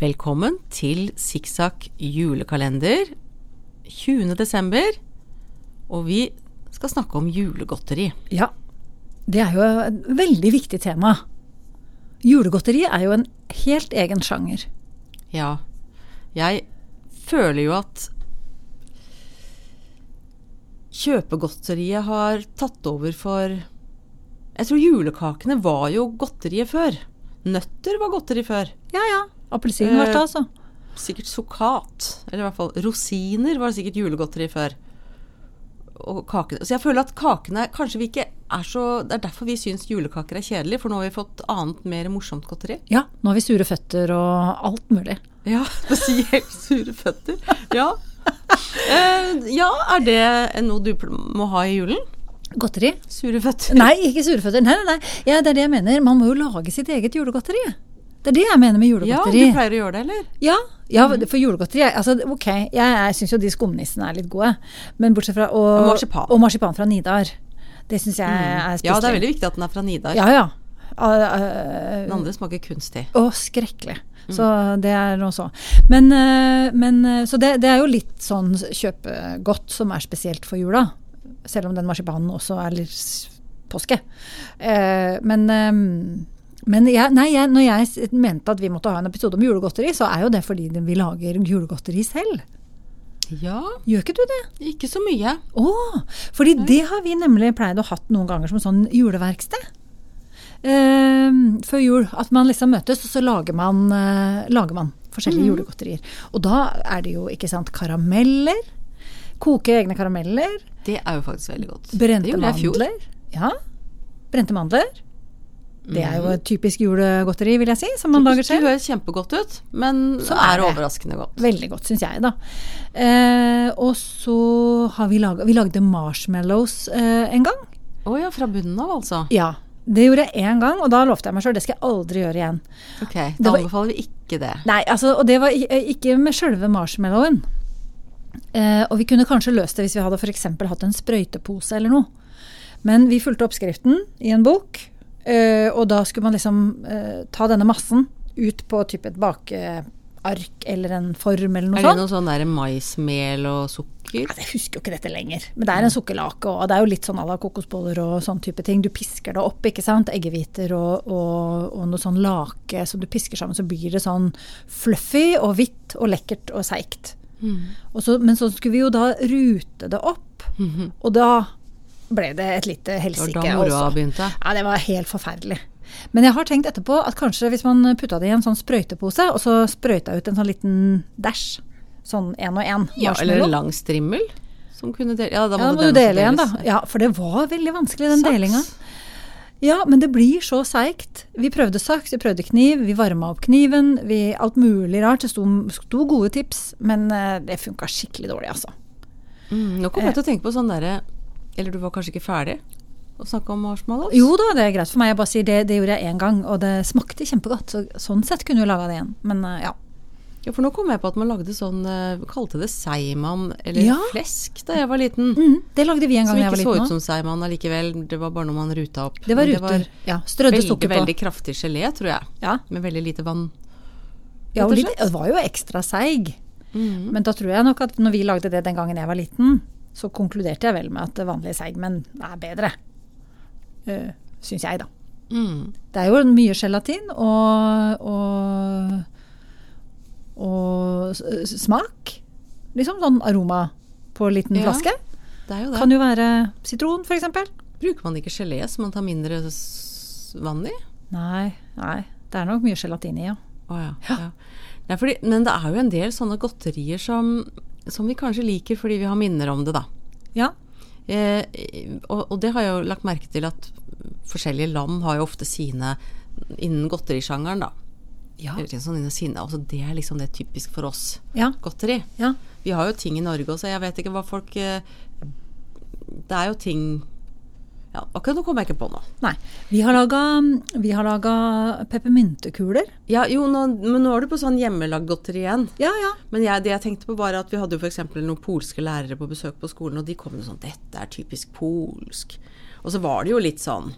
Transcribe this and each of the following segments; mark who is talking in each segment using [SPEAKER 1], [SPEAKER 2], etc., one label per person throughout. [SPEAKER 1] Velkommen til Sikksakk julekalender 20. desember. Og vi skal snakke om julegodteri.
[SPEAKER 2] Ja, det er jo et veldig viktig tema. Julegodteri er jo en helt egen sjanger.
[SPEAKER 1] Ja, jeg føler jo at kjøpegodteriet har tatt over for Jeg tror julekakene var jo godteriet før. Nøtter var godteri før.
[SPEAKER 2] Ja, ja. Appelsinvarte,
[SPEAKER 1] Eh,
[SPEAKER 2] altså.
[SPEAKER 1] sikkert sukkat, eller i hvert fall rosiner var det sikkert julegodteri før. Og kakene. Så jeg føler at kakene kanskje vi ikke er så Det er derfor vi syns julekaker er kjedelig, for nå har vi fått annet mer morsomt godteri.
[SPEAKER 2] Ja, nå har vi sure føtter og alt mulig.
[SPEAKER 1] Ja, spesielt sure føtter. Ja. Eh, ja, er det noe du pl- må ha i julen?
[SPEAKER 2] Godteri?
[SPEAKER 1] Sure føtter?
[SPEAKER 2] Nei, ikke sure føtter. Nei, nei, nei. Ja, det er det jeg mener. Man må jo lage sitt eget julegodteri. Det er det jeg mener med
[SPEAKER 1] Ja,
[SPEAKER 2] julegodteri.
[SPEAKER 1] du pleier Mm. å gjøre det, eller?
[SPEAKER 2] Ja, ja for julegodteri er- altså, Ok, jeg, jeg syns jo de skumnissene er litt gode. Men bortsett fra Og,
[SPEAKER 1] Og marsipan. Mm.
[SPEAKER 2] og marsipan fra Nidar. Det syns jeg er spesielt.
[SPEAKER 1] Ja, det er veldig viktig at den er fra Nidar.
[SPEAKER 2] Ja, ja. Ah, eh,
[SPEAKER 1] Den andre smaker kunstig.
[SPEAKER 2] Å, skrekkelig. Så det er noe så. Men, eh, men eh, Så det, det er jo litt sånn kjøpegodt som er spesielt for jula. Selv om den marsipanen også er litt s- påske. Eh, Men, eh, men jeg, nei, jeg, når jeg s- mente at vi måtte ha en episode om julegodteri, så er jo det fordi vi lager julegodteri selv.
[SPEAKER 1] Ja,
[SPEAKER 2] Gjør ikke du det?
[SPEAKER 1] ikke så mye.
[SPEAKER 2] Å, fordi det har vi nemlig pleid å hatt noen ganger som sånn juleverksted. Eh, før jul. At man liksom møtes, og så lager man, eh, lager man forskjellige
[SPEAKER 1] Mhm.
[SPEAKER 2] julegodterier. Og da er det jo, ikke sant, karameller. Koke egne karameller.
[SPEAKER 1] Det er jo faktisk veldig godt. det
[SPEAKER 2] Brente
[SPEAKER 1] gjorde jeg i fjor.
[SPEAKER 2] mandler. Ja. Brente mandler. Det er
[SPEAKER 1] Mhm.
[SPEAKER 2] jo et typisk julegodteri, vil jeg si, som man lager selv.
[SPEAKER 1] Det høres kjempegodt ut, men
[SPEAKER 2] Så
[SPEAKER 1] er,
[SPEAKER 2] er det.
[SPEAKER 1] overraskende godt.
[SPEAKER 2] Veldig godt, syns jeg, da. Eh, og så har vi laga Vi lagde marshmallows eh, en gang.
[SPEAKER 1] Å ja, fra bunnen av, altså.
[SPEAKER 2] Ja. Det gjorde jeg én gang, og da lovte jeg meg sjøl det skal jeg aldri gjøre igjen.
[SPEAKER 1] Ok, Da
[SPEAKER 2] Det var-
[SPEAKER 1] anbefaler vi ikke det.
[SPEAKER 2] Nei, altså, Og det var i- ikke med sjølve marshmallowen. Eh, og vi kunne kanskje løst det hvis vi hadde for eksempel hatt en sprøytepose eller noe. Men vi fulgte oppskriften i en bok, eh, og da skulle man liksom eh, ta denne massen ut på type et bakeark eller en form eller noe
[SPEAKER 1] Er det
[SPEAKER 2] sånt.
[SPEAKER 1] noe sånn der maismel og sukker?
[SPEAKER 2] Altså, jeg husker jo ikke dette lenger, men det er en sukkerlake, og det er jo litt sånn à la kokosboller og sånn type ting. Du pisker det opp, ikke sant. Eggehviter og, og, og noe sånn lake som du pisker sammen, så blir det sånn fluffy og hvitt og lekkert og seigt.
[SPEAKER 1] Mm.
[SPEAKER 2] Og så- Men så skulle vi jo da rute det opp, og da ble det et
[SPEAKER 1] Mhm.
[SPEAKER 2] lite
[SPEAKER 1] Det var
[SPEAKER 2] helsike.
[SPEAKER 1] da moroa
[SPEAKER 2] altså.
[SPEAKER 1] begynte.
[SPEAKER 2] Ja, det var helt forferdelig. Men jeg har tenkt etterpå at kanskje hvis man putta det i en sånn sprøytepose, og så sprøyta ut en sånn liten dæsj, sånn én og én
[SPEAKER 1] Ja, eller
[SPEAKER 2] marshmallow.
[SPEAKER 1] en lang strimmel? Som kunne dele Ja, da
[SPEAKER 2] Ja, da må
[SPEAKER 1] den
[SPEAKER 2] du dele igjen, da.
[SPEAKER 1] som deles.
[SPEAKER 2] Ja, for det var veldig vanskelig, den
[SPEAKER 1] Saks.
[SPEAKER 2] delinga. Ja, men det blir så seigt. Vi prøvde saks, vi prøvde kniv, vi varma opp kniven, vi alt mulig rart. Det sto, sto gode tips, men eh, det funka skikkelig dårlig, altså.
[SPEAKER 1] Mm, nå kom
[SPEAKER 2] Eh.
[SPEAKER 1] jeg til å tenke på sånn derre Eller du var kanskje ikke ferdig å snakke om marshmallows?
[SPEAKER 2] Jo da, det er greit for meg. Jeg bare sier det, det gjorde jeg én gang, og det smakte kjempegodt. Så, sånn sett kunne vi laga det igjen, men eh, ja.
[SPEAKER 1] Ja, for nå kom jeg på at man lagde sånn eh, Kalte det seigmann eller
[SPEAKER 2] Ja.
[SPEAKER 1] flesk da jeg var liten.
[SPEAKER 2] Mm, det lagde vi en
[SPEAKER 1] Som
[SPEAKER 2] gang da
[SPEAKER 1] ikke
[SPEAKER 2] jeg var
[SPEAKER 1] så
[SPEAKER 2] liten
[SPEAKER 1] ut
[SPEAKER 2] også.
[SPEAKER 1] som seigmann allikevel, det var bare noe man ruta opp.
[SPEAKER 2] Det var
[SPEAKER 1] Men
[SPEAKER 2] ruter. ja, strødde
[SPEAKER 1] veldig,
[SPEAKER 2] sukker på.
[SPEAKER 1] veldig kraftig gelé, tror jeg.
[SPEAKER 2] Ja,
[SPEAKER 1] Med veldig lite vann.
[SPEAKER 2] ja,
[SPEAKER 1] rett
[SPEAKER 2] og
[SPEAKER 1] og
[SPEAKER 2] litt,
[SPEAKER 1] slett.
[SPEAKER 2] det var jo ekstra seig. Men da tror jeg nok at når vi lagde det den gangen jeg var liten, så konkluderte jeg vel med at vanlig seigmenn er bedre. Uh, Syns jeg, da.
[SPEAKER 1] Mm.
[SPEAKER 2] Det er jo mye gelatin og, og, og s- s- smak. Liksom sånn aroma på liten
[SPEAKER 1] Ja,
[SPEAKER 2] flaske.
[SPEAKER 1] Det er jo det.
[SPEAKER 2] Kan jo være sitron, f.eks.
[SPEAKER 1] Bruker man ikke gelé som man tar mindre s- vann i?
[SPEAKER 2] Nei, nei. Det er nok mye gelatin i, ja.
[SPEAKER 1] Å ja. ja. Nei, fordi, men det er jo en del sånne godterier som, som vi kanskje liker fordi vi har minner om det, da.
[SPEAKER 2] Ja,
[SPEAKER 1] Eh, og, og det har jeg jo lagt merke til at forskjellige land har jo ofte sine innen godterisjangeren, da.
[SPEAKER 2] Ja.
[SPEAKER 1] Eller Sånn innen sine, altså det er liksom det typisk for oss.
[SPEAKER 2] ja,
[SPEAKER 1] Godteri.
[SPEAKER 2] ja.
[SPEAKER 1] Vi har jo ting i Norge også, jeg vet ikke hva folk eh, Det er jo ting ja, Akkurat nå kommer jeg ikke på noe.
[SPEAKER 2] Nei. Vi har laga, vi har laga peppermyntekuler.
[SPEAKER 1] Ja, jo, nå, men nå er du på sånn hjemmelagd godteri igjen.
[SPEAKER 2] Ja, ja.
[SPEAKER 1] Men jeg, det jeg tenkte på var at vi hadde jo f.eks. noen polske lærere på besøk på skolen, og de kom jo sånn 'Dette er typisk polsk'. Og så var det jo litt sånn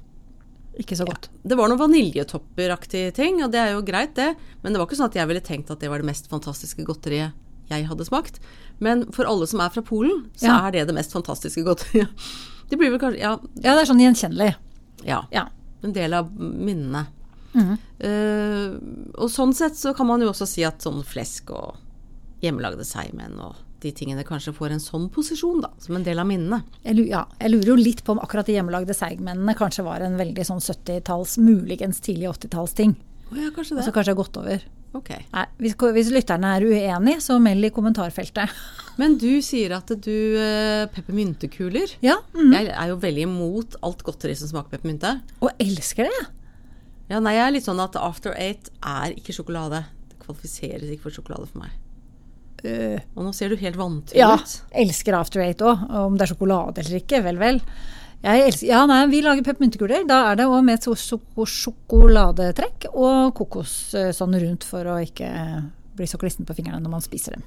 [SPEAKER 2] Ikke så godt.
[SPEAKER 1] Det var noen vaniljetopperaktige ting, og det er jo greit, det. Men det var ikke sånn at jeg ville tenkt at det var det mest fantastiske godteriet jeg hadde smakt. Men for alle som er fra Polen, så
[SPEAKER 2] Ja.
[SPEAKER 1] er det det mest fantastiske godteriet. Det blir vel kanskje Ja.
[SPEAKER 2] Ja, det er sånn gjenkjennelig.
[SPEAKER 1] ja
[SPEAKER 2] Ja.
[SPEAKER 1] en del av minnene.
[SPEAKER 2] Mhm.
[SPEAKER 1] Eh, og sånn sett så kan man jo også si at sånn flesk og hjemmelagde seigmenn og de tingene kanskje får en sånn posisjon, da. Som en del av minnene.
[SPEAKER 2] Jeg, lu- ja, jeg lurer jo litt på om akkurat de hjemmelagde seigmennene kanskje var en veldig sånn 70-talls, muligens tidlig 80-talls ting.
[SPEAKER 1] Å ja, kanskje
[SPEAKER 2] Og
[SPEAKER 1] det.
[SPEAKER 2] så kanskje har gått over.
[SPEAKER 1] Altså, Ok.
[SPEAKER 2] Nei, hvis, hvis lytterne er uenige, så meld i kommentarfeltet.
[SPEAKER 1] Men du sier at du eh, peppermyntekuler.
[SPEAKER 2] Ja, mm.
[SPEAKER 1] Jeg er jo veldig imot alt godteri som smaker peppermynte.
[SPEAKER 2] og elsker det.
[SPEAKER 1] Ja, nei, jeg er litt sånn at After Eight er ikke sjokolade. Det kvalifiseres ikke for sjokolade for meg.
[SPEAKER 2] Øh,
[SPEAKER 1] Og nå ser du helt vantro
[SPEAKER 2] ja,
[SPEAKER 1] ut.
[SPEAKER 2] elsker After Eight òg. Om det er sjokolade eller ikke, vel, vel. Jeg elsker, ja, nei, vi lager peppermyntekuler. Da er det òg med et so- sjoko- sjokoladetrekk og kokos øh, sånn rundt for å ikke bli så klissen på fingrene når man spiser dem.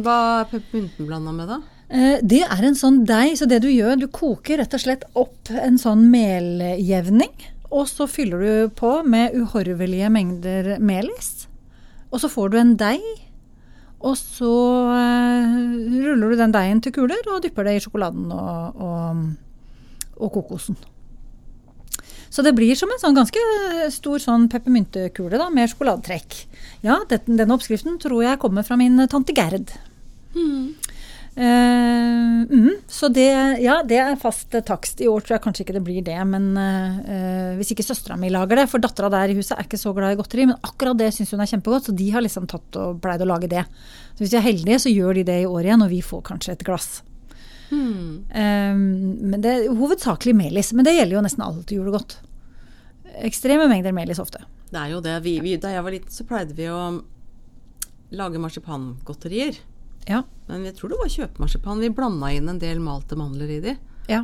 [SPEAKER 1] Hva er peppermynten blanda med, da?
[SPEAKER 2] Eh, Det er en sånn deig, så det du gjør, du koker rett og slett opp en sånn meljevning. Og så fyller du på med uhorvelige mengder melis. Og så får du en deig. Og så eh, ruller du den deigen til kuler og dypper det i sjokoladen og, og, og kokosen. Så det blir som en sånn ganske stor sånn peppermyntekule da, med sjokoladetrekk. Ja, dette- denne oppskriften tror jeg kommer fra min tante Gerd. Eh, mm, så det, ja, det er fast eh, takst. I år tror jeg kanskje ikke det blir det. Men eh, eh, hvis ikke søstera mi lager det, for dattera der i huset er ikke så glad i godteri, men akkurat det syns hun er kjempegodt, så de har liksom tatt og pleid å lage det. Så hvis vi er heldige, så gjør de det i år igjen, og vi får kanskje et glass.
[SPEAKER 1] Hmm.
[SPEAKER 2] Eh, men det er hovedsakelig melis. Men det gjelder jo nesten alt julegodt. Ekstreme mengder melis ofte.
[SPEAKER 1] Det er jo det. Vi, vi, da jeg var liten, så pleide vi å lage marsipangodterier.
[SPEAKER 2] Ja.
[SPEAKER 1] Men jeg tror det var kjøpemarsipan. Vi blanda inn en del malte mandler i de.
[SPEAKER 2] ja.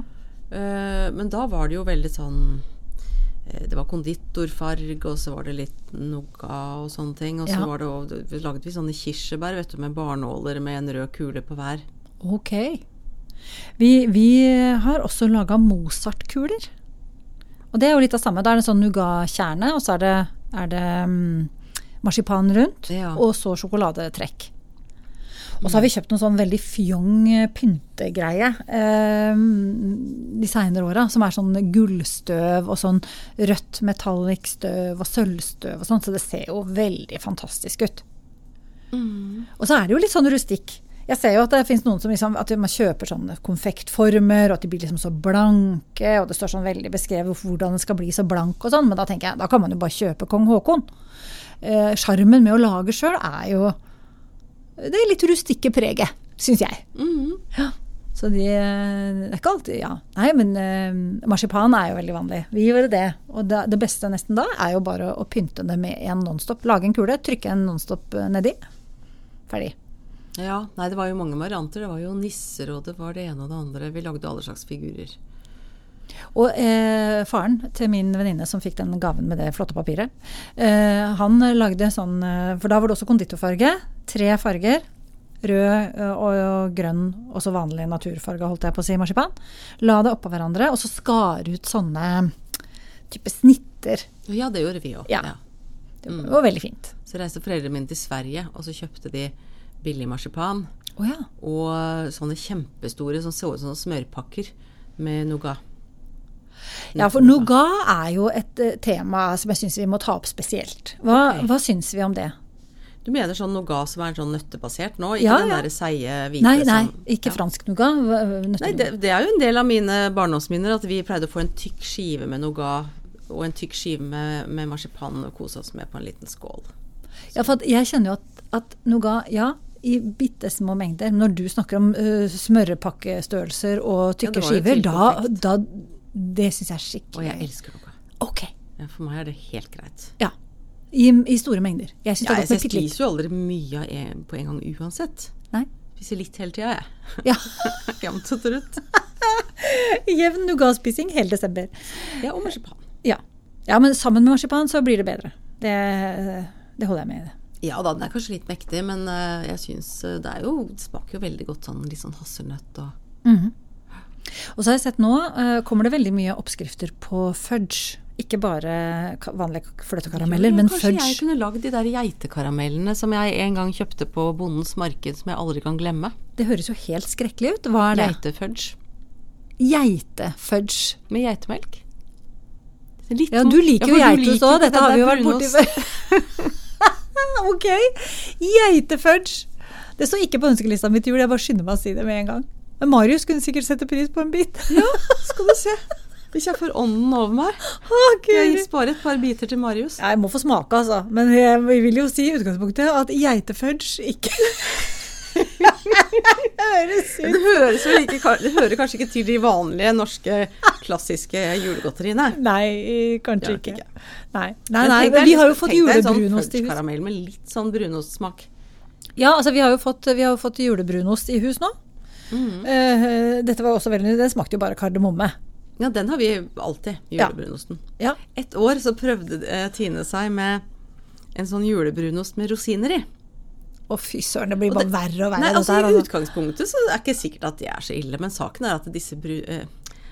[SPEAKER 1] Eh, men da var det jo veldig sånn eh, Det var konditorfarg, og så var det litt nougat og sånne ting. Og så
[SPEAKER 2] Ja.
[SPEAKER 1] var det, også- vi lagde vi sånne kirsebær vet du, med barnåler med en rød kule på hver.
[SPEAKER 2] Ok. Vi, vi har også laga Mozart-kuler. Og det er jo litt av samme. Da er det sånn nougat-kjerne, og så er det, er det mm, marsipan rundt,
[SPEAKER 1] Ja.
[SPEAKER 2] og så sjokoladetrekk. Og så har vi kjøpt noen sånn veldig fjong eh, pyntegreie eh, de seinere åra. Som er sånn gullstøv og sånn rødt metallic-støv og sølvstøv og sånn. Så det ser jo veldig fantastisk ut. Og så er det jo litt sånn rustikk. Jeg ser jo at det finnes noen som liksom, at man kjøper sånne konfektformer, og at de blir liksom så blanke, og det står sånn veldig beskrevet hvorfor- hvordan den skal bli så blank og sånn, men da tenker jeg, da kan man jo bare kjøpe Kong Haakon. Eh, Sjarmen med å lage sjøl er jo det er litt rustikke preget, syns jeg. Ja. Så de eh, Det er ikke alltid Ja. Nei, men eh, marsipan er jo veldig vanlig. Vi gjorde det. Og det, det beste nesten da er jo bare å pynte det med en Nonstop. Lage en kule, trykke en Nonstop eh, nedi. Ferdig.
[SPEAKER 1] Ja, nei, det var jo mange varianter. Det var jo nisser, og det var det ene og det andre. Vi lagde alle slags figurer.
[SPEAKER 2] Og eh, faren til min venninne som fikk den gaven med det flotte papiret, eh, han lagde sånn eh, For da var det også konditorfarge. Tre farger. Rød eh, og, og grønn, og så vanlig naturfarge, holdt jeg på å si, marsipan. La det oppå hverandre, og så skar ut sånne type snitter.
[SPEAKER 1] Og Ja, det gjorde vi òg.
[SPEAKER 2] Ja. Det var veldig fint.
[SPEAKER 1] Så reiste foreldrene mine til Sverige, og så kjøpte de billig marsipan.
[SPEAKER 2] Å ja.
[SPEAKER 1] Og sånne kjempestore som så ut som smørpakker med nougat.
[SPEAKER 2] Ja, for nougat er jo et eh, tema som jeg syns vi må ta opp spesielt. Hva,
[SPEAKER 1] Ok.
[SPEAKER 2] hva syns vi om det?
[SPEAKER 1] Du mener sånn nougat som er sånn nøttebasert nå? Ikke
[SPEAKER 2] Ja,
[SPEAKER 1] den
[SPEAKER 2] ja.
[SPEAKER 1] derre seige hvite
[SPEAKER 2] Nei, nei,
[SPEAKER 1] som
[SPEAKER 2] ikke fransk nougat. hva-
[SPEAKER 1] Nei, det, det er jo en del av mine barndomsminner at vi pleide å få en tykk skive med nougat og en tykk skive med, med marsipan og kose oss med på en liten skål.
[SPEAKER 2] Ja, for at jeg kjenner jo at, at nougat, ja, i bitte små mengder. Men når du snakker om ø, smørpakkestørrelser
[SPEAKER 1] Ja,
[SPEAKER 2] og
[SPEAKER 1] det
[SPEAKER 2] tykke
[SPEAKER 1] var jo
[SPEAKER 2] skiver,
[SPEAKER 1] til
[SPEAKER 2] da, da Det syns jeg er
[SPEAKER 1] Og jeg
[SPEAKER 2] skikkelig
[SPEAKER 1] elsker nougat.
[SPEAKER 2] Ok.
[SPEAKER 1] Ja, for meg er det helt greit.
[SPEAKER 2] Ja. I, i store mengder. Jeg syns
[SPEAKER 1] Ja, jeg,
[SPEAKER 2] det er godt med
[SPEAKER 1] jeg
[SPEAKER 2] bitte litt.
[SPEAKER 1] spiser jo aldri mye av en, på en gang uansett.
[SPEAKER 2] Nei?
[SPEAKER 1] Spiser litt hele tida, jeg.
[SPEAKER 2] Ja.
[SPEAKER 1] Jevnt og trutt.
[SPEAKER 2] Jevn nougatspising hele desember.
[SPEAKER 1] Ja, og marsipan.
[SPEAKER 2] Ja. ja, men sammen med marsipan så blir det bedre. Det, det holder jeg med i.
[SPEAKER 1] Ja da, den er kanskje litt mektig, men eh, jeg syns eh, det er jo Det smaker jo veldig godt sånn litt sånn hasselnøtt og
[SPEAKER 2] øh, Og så har jeg sett nå eh, kommer det veldig mye oppskrifter på fudge. Ikke bare ka- vanlige k- fløtekarameller,
[SPEAKER 1] Ja,
[SPEAKER 2] men
[SPEAKER 1] kanskje jeg
[SPEAKER 2] fudge.
[SPEAKER 1] kunne lagd de der geitekaramellene som jeg en gang kjøpte på Bondens marked, som jeg aldri kan glemme.
[SPEAKER 2] Det høres jo helt skrekkelig ut. Hva er det?
[SPEAKER 1] Geitefudge
[SPEAKER 2] Geitefudge.
[SPEAKER 1] med geitemelk. Litt
[SPEAKER 2] Ja,
[SPEAKER 1] sånn-
[SPEAKER 2] du liker
[SPEAKER 1] for
[SPEAKER 2] jo
[SPEAKER 1] du
[SPEAKER 2] geitost
[SPEAKER 1] liker
[SPEAKER 2] òg,
[SPEAKER 1] det,
[SPEAKER 2] dette
[SPEAKER 1] det
[SPEAKER 2] har vi jo
[SPEAKER 1] er
[SPEAKER 2] vært borti
[SPEAKER 1] brunost.
[SPEAKER 2] før. ok. Geitefudge. Det står ikke på ønskelista mi til jul, jeg bare skynder meg å si det med en gang. Men Marius kunne sikkert sette pris på en bit. Ja, skal du se.
[SPEAKER 1] Hvis jeg får ånden over meg. Jeg
[SPEAKER 2] Jeg,
[SPEAKER 1] sparer et par biter til Marius.
[SPEAKER 2] jeg må få smake, altså. Men jeg vil jo si i utgangspunktet at geitefudge ikke Høres ut
[SPEAKER 1] Det høres vel ikke, det hører kanskje ikke til de vanlige norske, klassiske julegodteriene.
[SPEAKER 2] Nei, kanskje
[SPEAKER 1] Gjør
[SPEAKER 2] ikke.
[SPEAKER 1] det ikke.
[SPEAKER 2] Nei, nei, nei men vi har jo fått julebrunost
[SPEAKER 1] liksom, Tenk deg en
[SPEAKER 2] i
[SPEAKER 1] sånn
[SPEAKER 2] hus.
[SPEAKER 1] fudgekaramell med litt sånn brunostsmak.
[SPEAKER 2] Ja, altså vi har jo fått, vi har jo fått julebrunost i hus nå.
[SPEAKER 1] Mhm.
[SPEAKER 2] Eh, dette var jo også veldig, Den smakte jo bare kardemomme.
[SPEAKER 1] Ja, den har vi alltid,
[SPEAKER 2] Ja.
[SPEAKER 1] julebrunosten.
[SPEAKER 2] Ja.
[SPEAKER 1] Et år så prøvde eh, Tine seg med en sånn julebrunost med rosiner i.
[SPEAKER 2] Å, fy søren, det blir
[SPEAKER 1] Og
[SPEAKER 2] bare
[SPEAKER 1] det-
[SPEAKER 2] verre og verre.
[SPEAKER 1] Nei,
[SPEAKER 2] dette
[SPEAKER 1] altså
[SPEAKER 2] her,
[SPEAKER 1] I
[SPEAKER 2] altså.
[SPEAKER 1] utgangspunktet så er det ikke sikkert at det er så ille, men saken er at disse bru... Eh,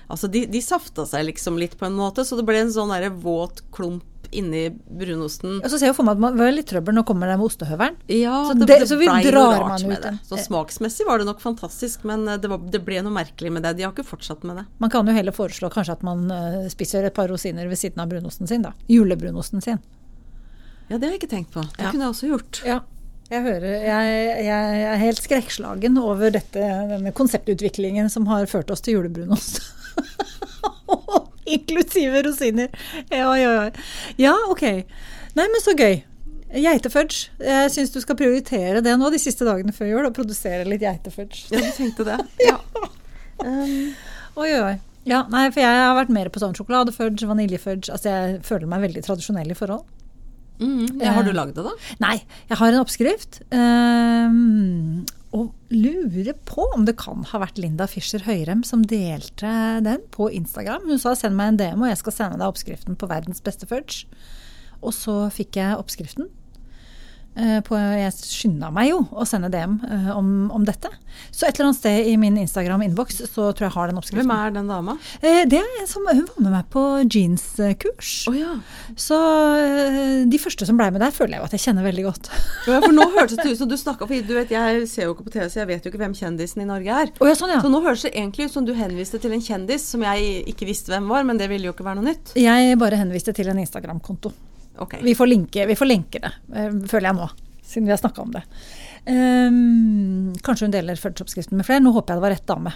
[SPEAKER 1] altså, de, de safta seg liksom litt på en måte, så det ble en sånn derre våt klump inni brunosten.
[SPEAKER 2] Og så ser jeg for meg at man var litt trøbbel når kommer der med ostehøvelen.
[SPEAKER 1] Ja,
[SPEAKER 2] Så
[SPEAKER 1] det,
[SPEAKER 2] det-
[SPEAKER 1] det
[SPEAKER 2] så vi
[SPEAKER 1] ble noe
[SPEAKER 2] drar
[SPEAKER 1] rart
[SPEAKER 2] man
[SPEAKER 1] med
[SPEAKER 2] ut
[SPEAKER 1] det.
[SPEAKER 2] en-
[SPEAKER 1] Så smaksmessig var det nok fantastisk, men eh, det, var, det ble noe merkelig med det. De har ikke fortsatt med det.
[SPEAKER 2] Man kan jo heller foreslå kanskje at man eh, spiser et par rosiner ved siden av brunosten sin, da. Julebrunosten sin.
[SPEAKER 1] Ja, det har jeg ikke tenkt på. Det
[SPEAKER 2] Ja.
[SPEAKER 1] kunne jeg også gjort.
[SPEAKER 2] Ja. Jeg hører Jeg, jeg er helt skrekkslagen over dette, denne konseptutviklingen som har ført oss til julebrunost. Inklusive rosiner. Ja, ja, ja. ja, ok. Nei, men så gøy. Geitefudge. Jeg syns du skal prioritere det nå de siste dagene før jul, og produsere litt geitefudge.
[SPEAKER 1] Ja, du tenkte det. Ja.
[SPEAKER 2] Oi, oi, oi. Ja, nei, for jeg har vært mer på sånn sjokoladefudge, vaniljefudge. Altså, jeg føler meg veldig tradisjonell i forhold.
[SPEAKER 1] Mm, ja, har du lagd det, da?
[SPEAKER 2] Nei, jeg har en oppskrift. ehm, og lurer på om det kan ha vært Linda Fischer Høyrem som delte den på Instagram. Hun sa 'send meg en DM, og jeg skal sende deg oppskriften på verdens beste fudge'. Og så fikk jeg oppskriften. eh, På, jeg skynda meg jo å sende DM eh, om, om dette. Så et eller annet sted i min Instagram-innboks så tror jeg har den oppskriften.
[SPEAKER 1] Hvem er den dama?
[SPEAKER 2] Eh, Det er en som, hun var med meg på jeanskurs.
[SPEAKER 1] Å ja.
[SPEAKER 2] Så eh, de første som blei med der, føler jeg jo at jeg kjenner veldig godt.
[SPEAKER 1] Ja, For nå hørtes det ut som du snakka For du vet, jeg ser jo ikke på TV, så jeg vet jo ikke hvem kjendisen i Norge er.
[SPEAKER 2] Å ja, sånn, ja.
[SPEAKER 1] Så nå høres det egentlig ut som du henviste til en kjendis som jeg ikke visste hvem var, men det ville jo ikke være noe nytt.
[SPEAKER 2] Jeg bare henviste til en Instagram-konto.
[SPEAKER 1] Ok.
[SPEAKER 2] Vi, får linke- vi får lenke det, eh, føler jeg nå, siden vi har snakka om det. Ehm, kanskje hun deler fudgeoppskriften med flere. Nå håper jeg det var rett dame.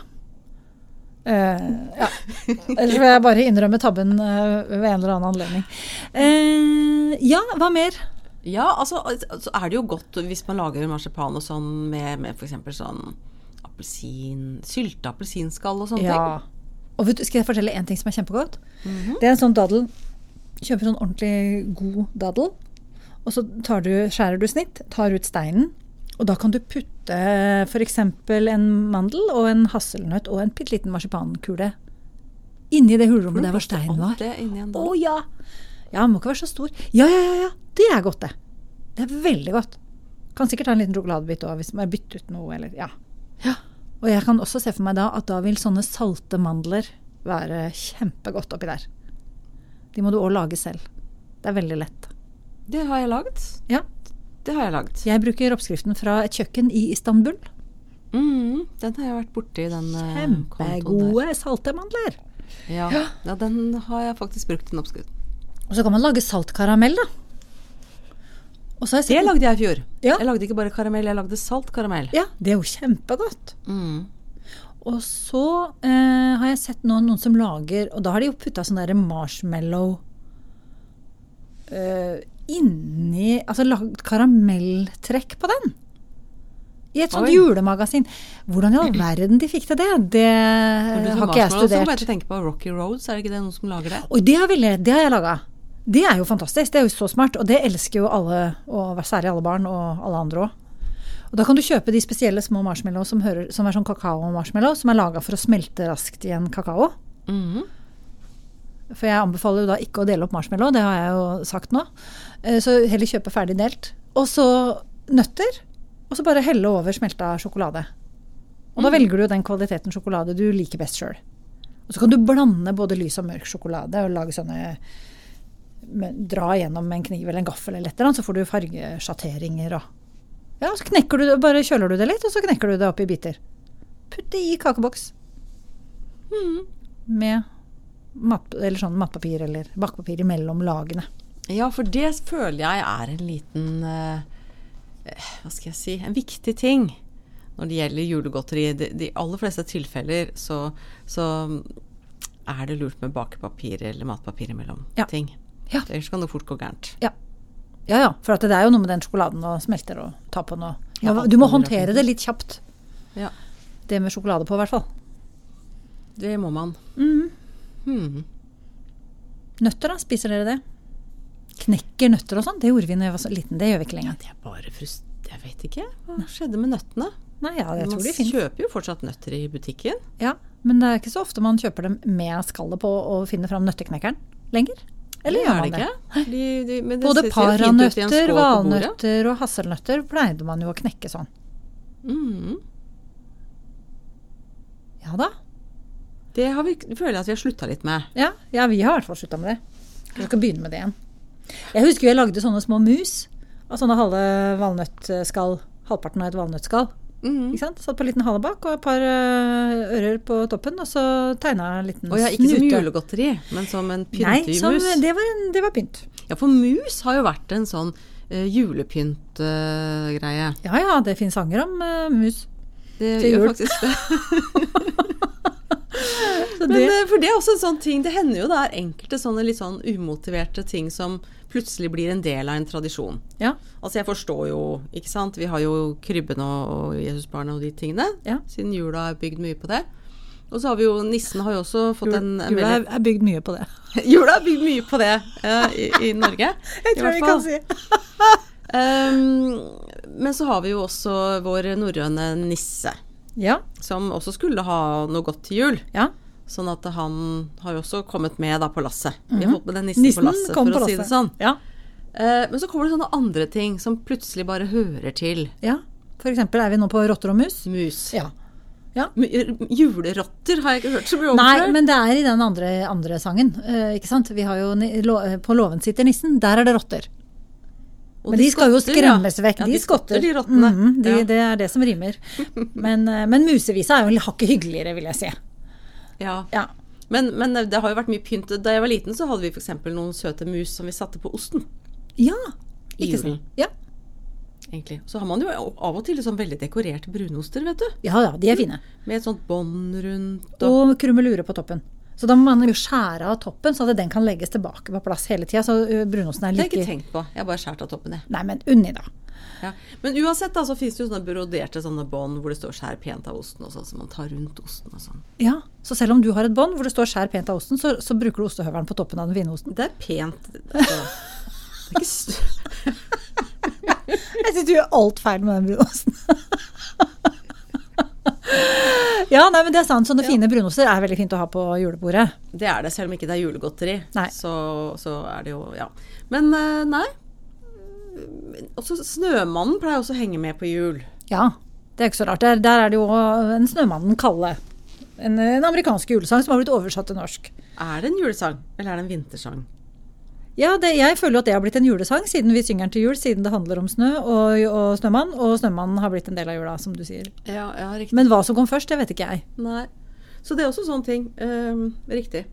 [SPEAKER 2] Eh, ja. Ellers vil jeg bare innrømme tabben eh, ved en eller annen anledning. Eh, ja, hva mer?
[SPEAKER 1] Ja, altså, al- så er det jo godt hvis man lager marsipan og sånn med, med f.eks. sånn appelsin Sylta appelsinskall og sånne ting.
[SPEAKER 2] Ja. Og vet du, skal jeg fortelle en ting som er kjempegodt? Det er en sånn daddel. Kjøper sånn ordentlig god daddel. Og så tar du, skjærer du snitt, tar ut steinen. Og da kan du putte f.eks. en mandel og en hasselnøtt og en bitte liten marsipankule inni det hulrommet der hvor steinen var.
[SPEAKER 1] Alt det inni en
[SPEAKER 2] Å
[SPEAKER 1] dal.
[SPEAKER 2] ja! Ja, den må ikke være så stor. Ja, ja, ja, ja. Det er godt, det. Det er veldig godt. Kan sikkert ta en liten sjokoladebit òg, hvis man bytter ut noe, eller ja. ja. Og jeg kan også se for meg da at da vil sånne salte mandler være kjempegodt oppi der. De må du òg lage selv. Det er veldig lett.
[SPEAKER 1] Det har jeg lagd.
[SPEAKER 2] Ja.
[SPEAKER 1] Det har jeg lagd.
[SPEAKER 2] Jeg bruker oppskriften fra et kjøkken i Istanbul.
[SPEAKER 1] Mm, den har jeg vært borti, den eh, kontoen der.
[SPEAKER 2] Kjempegode salte mandler.
[SPEAKER 1] Ja. ja, den har jeg faktisk brukt, den oppskriften.
[SPEAKER 2] Og så kan man lage saltkaramell, da. Og så har jeg
[SPEAKER 1] Det
[SPEAKER 2] sett
[SPEAKER 1] lagde jeg i fjor.
[SPEAKER 2] Ja.
[SPEAKER 1] Jeg lagde ikke bare karamell, jeg lagde salt karamell.
[SPEAKER 2] Ja, det er jo kjempegodt.
[SPEAKER 1] Mm.
[SPEAKER 2] Og så eh, har jeg sett nå noen som lager Og da har de jo putta sånn derre marshmallow eh, inni Altså lagd karamelltrekk på den. I et sånt
[SPEAKER 1] Oi.
[SPEAKER 2] julemagasin. Hvordan i all verden de fikk til det, det
[SPEAKER 1] Når du
[SPEAKER 2] har
[SPEAKER 1] tar
[SPEAKER 2] ikke jeg
[SPEAKER 1] marshmallow, så må
[SPEAKER 2] studert.
[SPEAKER 1] jeg tenke på Rocky Roads, er det ikke det noen som lager det?
[SPEAKER 2] Oi, det har, vi, le- det har jeg laga. Det er jo fantastisk. Det er jo så smart. Og det elsker jo alle, og særlig alle barn, og alle andre òg. Og da kan du kjøpe de spesielle små marshmallows som, hører, som er sånn kakao-marshmallow, som er laga for å smelte raskt i en kakao. Mm-hmm.
[SPEAKER 1] Mhm.
[SPEAKER 2] For jeg anbefaler jo da ikke å dele opp marshmallow, det har jeg jo sagt nå. Eh, Så heller kjøpe ferdig delt. Og så nøtter, og så bare helle over smelta sjokolade. Og da velger du jo den kvaliteten sjokolade du liker best sjøl. Og så kan du blande både lys og mørk sjokolade og lage sånne men dra gjennom med en kniv eller en gaffel, eller et eller annet, så får du fargesjatteringer og Ja, så knekker du det, bare kjøler du det litt, og så knekker du det opp i biter. Putt det i kakeboks
[SPEAKER 1] Mhm.
[SPEAKER 2] med mat, eller sånn matpapir eller bakepapir imellom lagene.
[SPEAKER 1] Ja, for det føler jeg er en liten eh, eh, Hva skal jeg si En viktig ting når det gjelder julegodteri. I de, de aller fleste tilfeller så, så er det lurt med bakepapir eller matpapir imellom
[SPEAKER 2] Ja.
[SPEAKER 1] ting.
[SPEAKER 2] Ja.
[SPEAKER 1] Ellers kan det fort gå gærent.
[SPEAKER 2] Ja. ja ja, for at det er jo noe med den sjokoladen og smelter og tar på noe.
[SPEAKER 1] Ja,
[SPEAKER 2] Du må
[SPEAKER 1] alt kommer
[SPEAKER 2] håndtere
[SPEAKER 1] opp.
[SPEAKER 2] det litt kjapt.
[SPEAKER 1] Ja,
[SPEAKER 2] Det med sjokolade på, i hvert fall.
[SPEAKER 1] det må man.
[SPEAKER 2] Mm-hmm.
[SPEAKER 1] Hmm.
[SPEAKER 2] Nøtter, da? Spiser dere det? Knekker nøtter og sånn? Det gjorde vi da jeg var så liten. Det gjør vi ikke lenger.
[SPEAKER 1] Det er bare frust... Jeg vet ikke. Hva skjedde med nøttene?
[SPEAKER 2] Nei, ja, jeg
[SPEAKER 1] man
[SPEAKER 2] tror de finnes.
[SPEAKER 1] kjøper jo fortsatt nøtter i butikken.
[SPEAKER 2] Ja, men det er ikke så ofte man kjøper dem med skallet på og finner fram nøtteknekkeren lenger. Eller gjør man det?
[SPEAKER 1] De, de, men det
[SPEAKER 2] Både
[SPEAKER 1] ser- ser fint ut i en
[SPEAKER 2] paranøtter,
[SPEAKER 1] skål på bordet.
[SPEAKER 2] valnøtter og hasselnøtter pleide man jo å knekke sånn.
[SPEAKER 1] Mhm.
[SPEAKER 2] Ja da.
[SPEAKER 1] Det har vi, føler jeg at vi har slutta litt med.
[SPEAKER 2] Ja, ja vi har i hvert fall slutta med det. Vi skal begynne med det igjen. Jeg husker jeg lagde sånne små mus av sånne halve valnøttskall. Halvparten av et valnøttskall.
[SPEAKER 1] Mm.
[SPEAKER 2] Ikke sant? Satt på en liten hale bak og et par øh, ører på toppen, og så tegna jeg en liten
[SPEAKER 1] Og ja, ikke sånn som
[SPEAKER 2] snute.
[SPEAKER 1] julegodteri, men som en pynt
[SPEAKER 2] Nei,
[SPEAKER 1] i
[SPEAKER 2] som,
[SPEAKER 1] mus.
[SPEAKER 2] det, var en, det var pynt.
[SPEAKER 1] Ja, for mus har jo vært en sånn eh, julepyntgreie.
[SPEAKER 2] Ja ja, det fins sanger om øh, mus.
[SPEAKER 1] det
[SPEAKER 2] til
[SPEAKER 1] gjør
[SPEAKER 2] jul.
[SPEAKER 1] faktisk det.
[SPEAKER 2] Så
[SPEAKER 1] Men
[SPEAKER 2] det,
[SPEAKER 1] eh, for det er også en sånn ting, det hender jo det er enkelte sånne litt sånn umotiverte ting som plutselig blir en del av en tradisjon.
[SPEAKER 2] ja.
[SPEAKER 1] Altså jeg forstår jo, ikke sant. Vi har jo krybben og, og Jesusbarnet og de tingene.
[SPEAKER 2] Ja.
[SPEAKER 1] Siden jula er bygd mye på det. Og så har vi jo, nissen har jo også fått en, en
[SPEAKER 2] Jula er, er bygd mye på det.
[SPEAKER 1] Jula har bygd mye på det eh, i, i Norge. I hvert fall.
[SPEAKER 2] si.
[SPEAKER 1] Ehm, men så har vi jo også vår norrøne nisse,
[SPEAKER 2] Ja,
[SPEAKER 1] som også skulle ha noe godt til jul.
[SPEAKER 2] ja.
[SPEAKER 1] Sånn at han har jo også kommet med da på lasset. Vi har fått med den nissen,
[SPEAKER 2] Mhm. Nissen
[SPEAKER 1] på lasset,
[SPEAKER 2] kom
[SPEAKER 1] for
[SPEAKER 2] på
[SPEAKER 1] å si
[SPEAKER 2] lasset.
[SPEAKER 1] det sånn.
[SPEAKER 2] Ja,
[SPEAKER 1] Eh, men så kommer det sånne andre ting som plutselig bare hører til
[SPEAKER 2] ja. For eksempel er vi nå på rotter og mus.
[SPEAKER 1] mus.
[SPEAKER 2] Ja.
[SPEAKER 1] M- eh, Julerotter har jeg ikke hørt så mye om
[SPEAKER 2] Nei,
[SPEAKER 1] før.
[SPEAKER 2] men det er i den andre, andre sangen. eh, ikke sant? Vi har jo ni, lo, eh, På låven sitter nissen. Der er det rotter.
[SPEAKER 1] Og
[SPEAKER 2] Men de, skal jo
[SPEAKER 1] skotter, ja.
[SPEAKER 2] skremmes vekk.
[SPEAKER 1] Ja,
[SPEAKER 2] de, skotter.
[SPEAKER 1] de rottene.
[SPEAKER 2] Mhm, de,
[SPEAKER 1] ja.
[SPEAKER 2] Det er det som rimer. Men, eh, men musevisa er jo hakket hyggeligere, vil jeg si.
[SPEAKER 1] Ja.
[SPEAKER 2] Ja.
[SPEAKER 1] Men, men eh, det har jo vært mye pynt. Da jeg var liten, så hadde vi f.eks. noen søte mus som vi satte på osten.
[SPEAKER 2] ja.
[SPEAKER 1] I
[SPEAKER 2] Ikke sant?
[SPEAKER 1] julen.
[SPEAKER 2] Ja.
[SPEAKER 1] egentlig. Så har man jo av og til sånn veldig dekorerte brunoster, vet du.
[SPEAKER 2] ja ja, de er fine.
[SPEAKER 1] Med et sånt bånd rundt og
[SPEAKER 2] Og krummelure på toppen. Så da må man jo skjære av toppen, så at den kan legges tilbake på plass hele tida. Så ø, brunosten er
[SPEAKER 1] Det har jeg
[SPEAKER 2] like
[SPEAKER 1] ikke tenkt på. Jeg har bare skåret av toppen, jeg.
[SPEAKER 2] Nei, men unni, da.
[SPEAKER 1] Ja. Men uansett, da, så fins det jo sånne broderte sånne bånd hvor det står 'skjær pent av osten' og sånn, så man tar rundt osten og sånn.
[SPEAKER 2] Ja, Så selv om du har et bånd hvor det står 'skjær pent av osten', så, så bruker du ostehøvelen på toppen av den fine osten.
[SPEAKER 1] Det er pent. Altså. Det er ikke st
[SPEAKER 2] Jeg syns du gjør alt feil med den brunosten. ja, nei, men det er sant. Sånne fine brunoster er veldig fint å ha på julebordet.
[SPEAKER 1] det er det, selv om ikke det er julegodteri.
[SPEAKER 2] Nei.
[SPEAKER 1] Så, så er det jo Ja. Men eh, nei. Men Også Snømannen pleier også å henge med på jul.
[SPEAKER 2] Ja, det er ikke så rart. Der, der er det jo en Snømannen Kalle. En, en amerikansk julesang som har blitt oversatt til norsk.
[SPEAKER 1] Er det en julesang, eller er det en vintersang?
[SPEAKER 2] Ja, det, jeg føler jo at det har blitt en julesang, siden vi synger den til jul, siden det handler om snø og, og snømann, og snømannen har blitt en del av jula, som du sier.
[SPEAKER 1] Ja, ja, riktig.
[SPEAKER 2] Men hva som kom først, det vet ikke jeg.
[SPEAKER 1] Nei. Så det er også sånne ting. Ehm, riktig.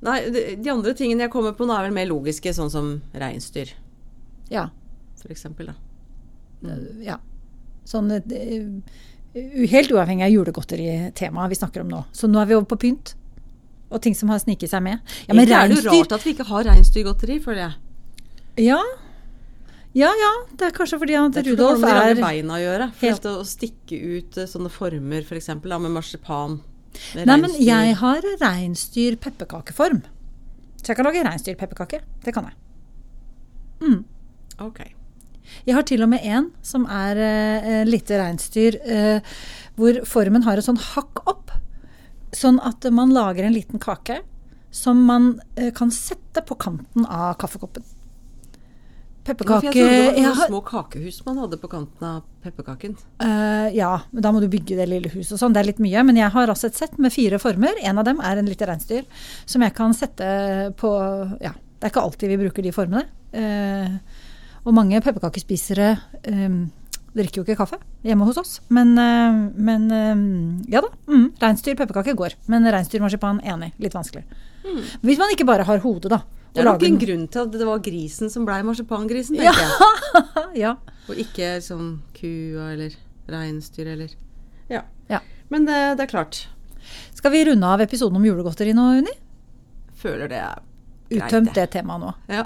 [SPEAKER 1] Nei, de, de andre tingene jeg kommer på nå, er vel mer logiske, sånn som reinsdyr,
[SPEAKER 2] Ja.
[SPEAKER 1] f.eks. da.
[SPEAKER 2] Eh, ja. Sånn eh, u- helt uavhengig av julegodteritemaet vi snakker om nå. Så nå er vi over på pynt. Og ting som har sniket seg med. Ja, men
[SPEAKER 1] Egentlig er det jo
[SPEAKER 2] reinsdyr
[SPEAKER 1] rart at vi ikke har reinsdyrgodteri, føler jeg.
[SPEAKER 2] ja. ja ja, det er kanskje fordi han
[SPEAKER 1] Det
[SPEAKER 2] til
[SPEAKER 1] tror jeg har noe med
[SPEAKER 2] Rudolf
[SPEAKER 1] de
[SPEAKER 2] er
[SPEAKER 1] lange beina å gjøre. For
[SPEAKER 2] helt-
[SPEAKER 1] at det, å stikke ut eh, sånne former, f.eks. da, med marsipan. Med
[SPEAKER 2] Nei, men
[SPEAKER 1] reinsdyr.
[SPEAKER 2] jeg har reinsdyr-pepperkakeform. Så jeg kan lage reinsdyr-pepperkake. Det kan jeg.
[SPEAKER 1] Ok.
[SPEAKER 2] Jeg har til og med en som er eh, eh, lite reinsdyr, eh, hvor formen har et sånn hakk opp. Sånn at man lager en liten kake som man eh, kan sette på kanten av kaffekoppen.
[SPEAKER 1] Kake,
[SPEAKER 2] Pepperkake
[SPEAKER 1] jeg trodde det var
[SPEAKER 2] jeg
[SPEAKER 1] noen
[SPEAKER 2] har-
[SPEAKER 1] små kakehus man hadde på kanten av pepperkaken.
[SPEAKER 2] Eh, ja, men da må du bygge det lille huset og sånn. Det er litt mye. Men jeg har altså et sett med fire former. En av dem er en lite reinsdyr som jeg kan sette på ja, Det er ikke alltid vi bruker de formene. Eh, og mange pepperkakespisere eh, drikker jo ikke kaffe hjemme hos oss. Men, eh, men eh, ja da. Mm, Reinsdyr pepperkake går. Men reinsdyrmarsipan enig. Litt vanskelig. Hvis man ikke bare har hodet, da.
[SPEAKER 1] Mm. Det er
[SPEAKER 2] og
[SPEAKER 1] nok
[SPEAKER 2] lager
[SPEAKER 1] en
[SPEAKER 2] den-
[SPEAKER 1] grunn til at det var grisen som blei marsipangrisen,
[SPEAKER 2] Ja.
[SPEAKER 1] tenker jeg.
[SPEAKER 2] ja.
[SPEAKER 1] Og ikke som kua eller reinsdyr eller Ja.
[SPEAKER 2] Ja.
[SPEAKER 1] Men det, det er klart.
[SPEAKER 2] Skal vi runde av episoden om julegodteri nå, Unni?
[SPEAKER 1] Føler det er greit,
[SPEAKER 2] Uttømt
[SPEAKER 1] jeg.
[SPEAKER 2] det temaet nå.
[SPEAKER 1] Ja.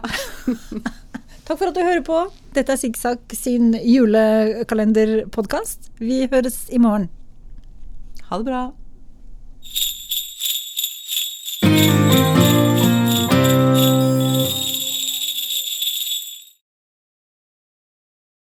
[SPEAKER 2] Takk for at du hører på. Dette er Zigzag sin julekalenderpodkast. Vi høres i morgen.
[SPEAKER 1] Ha det bra.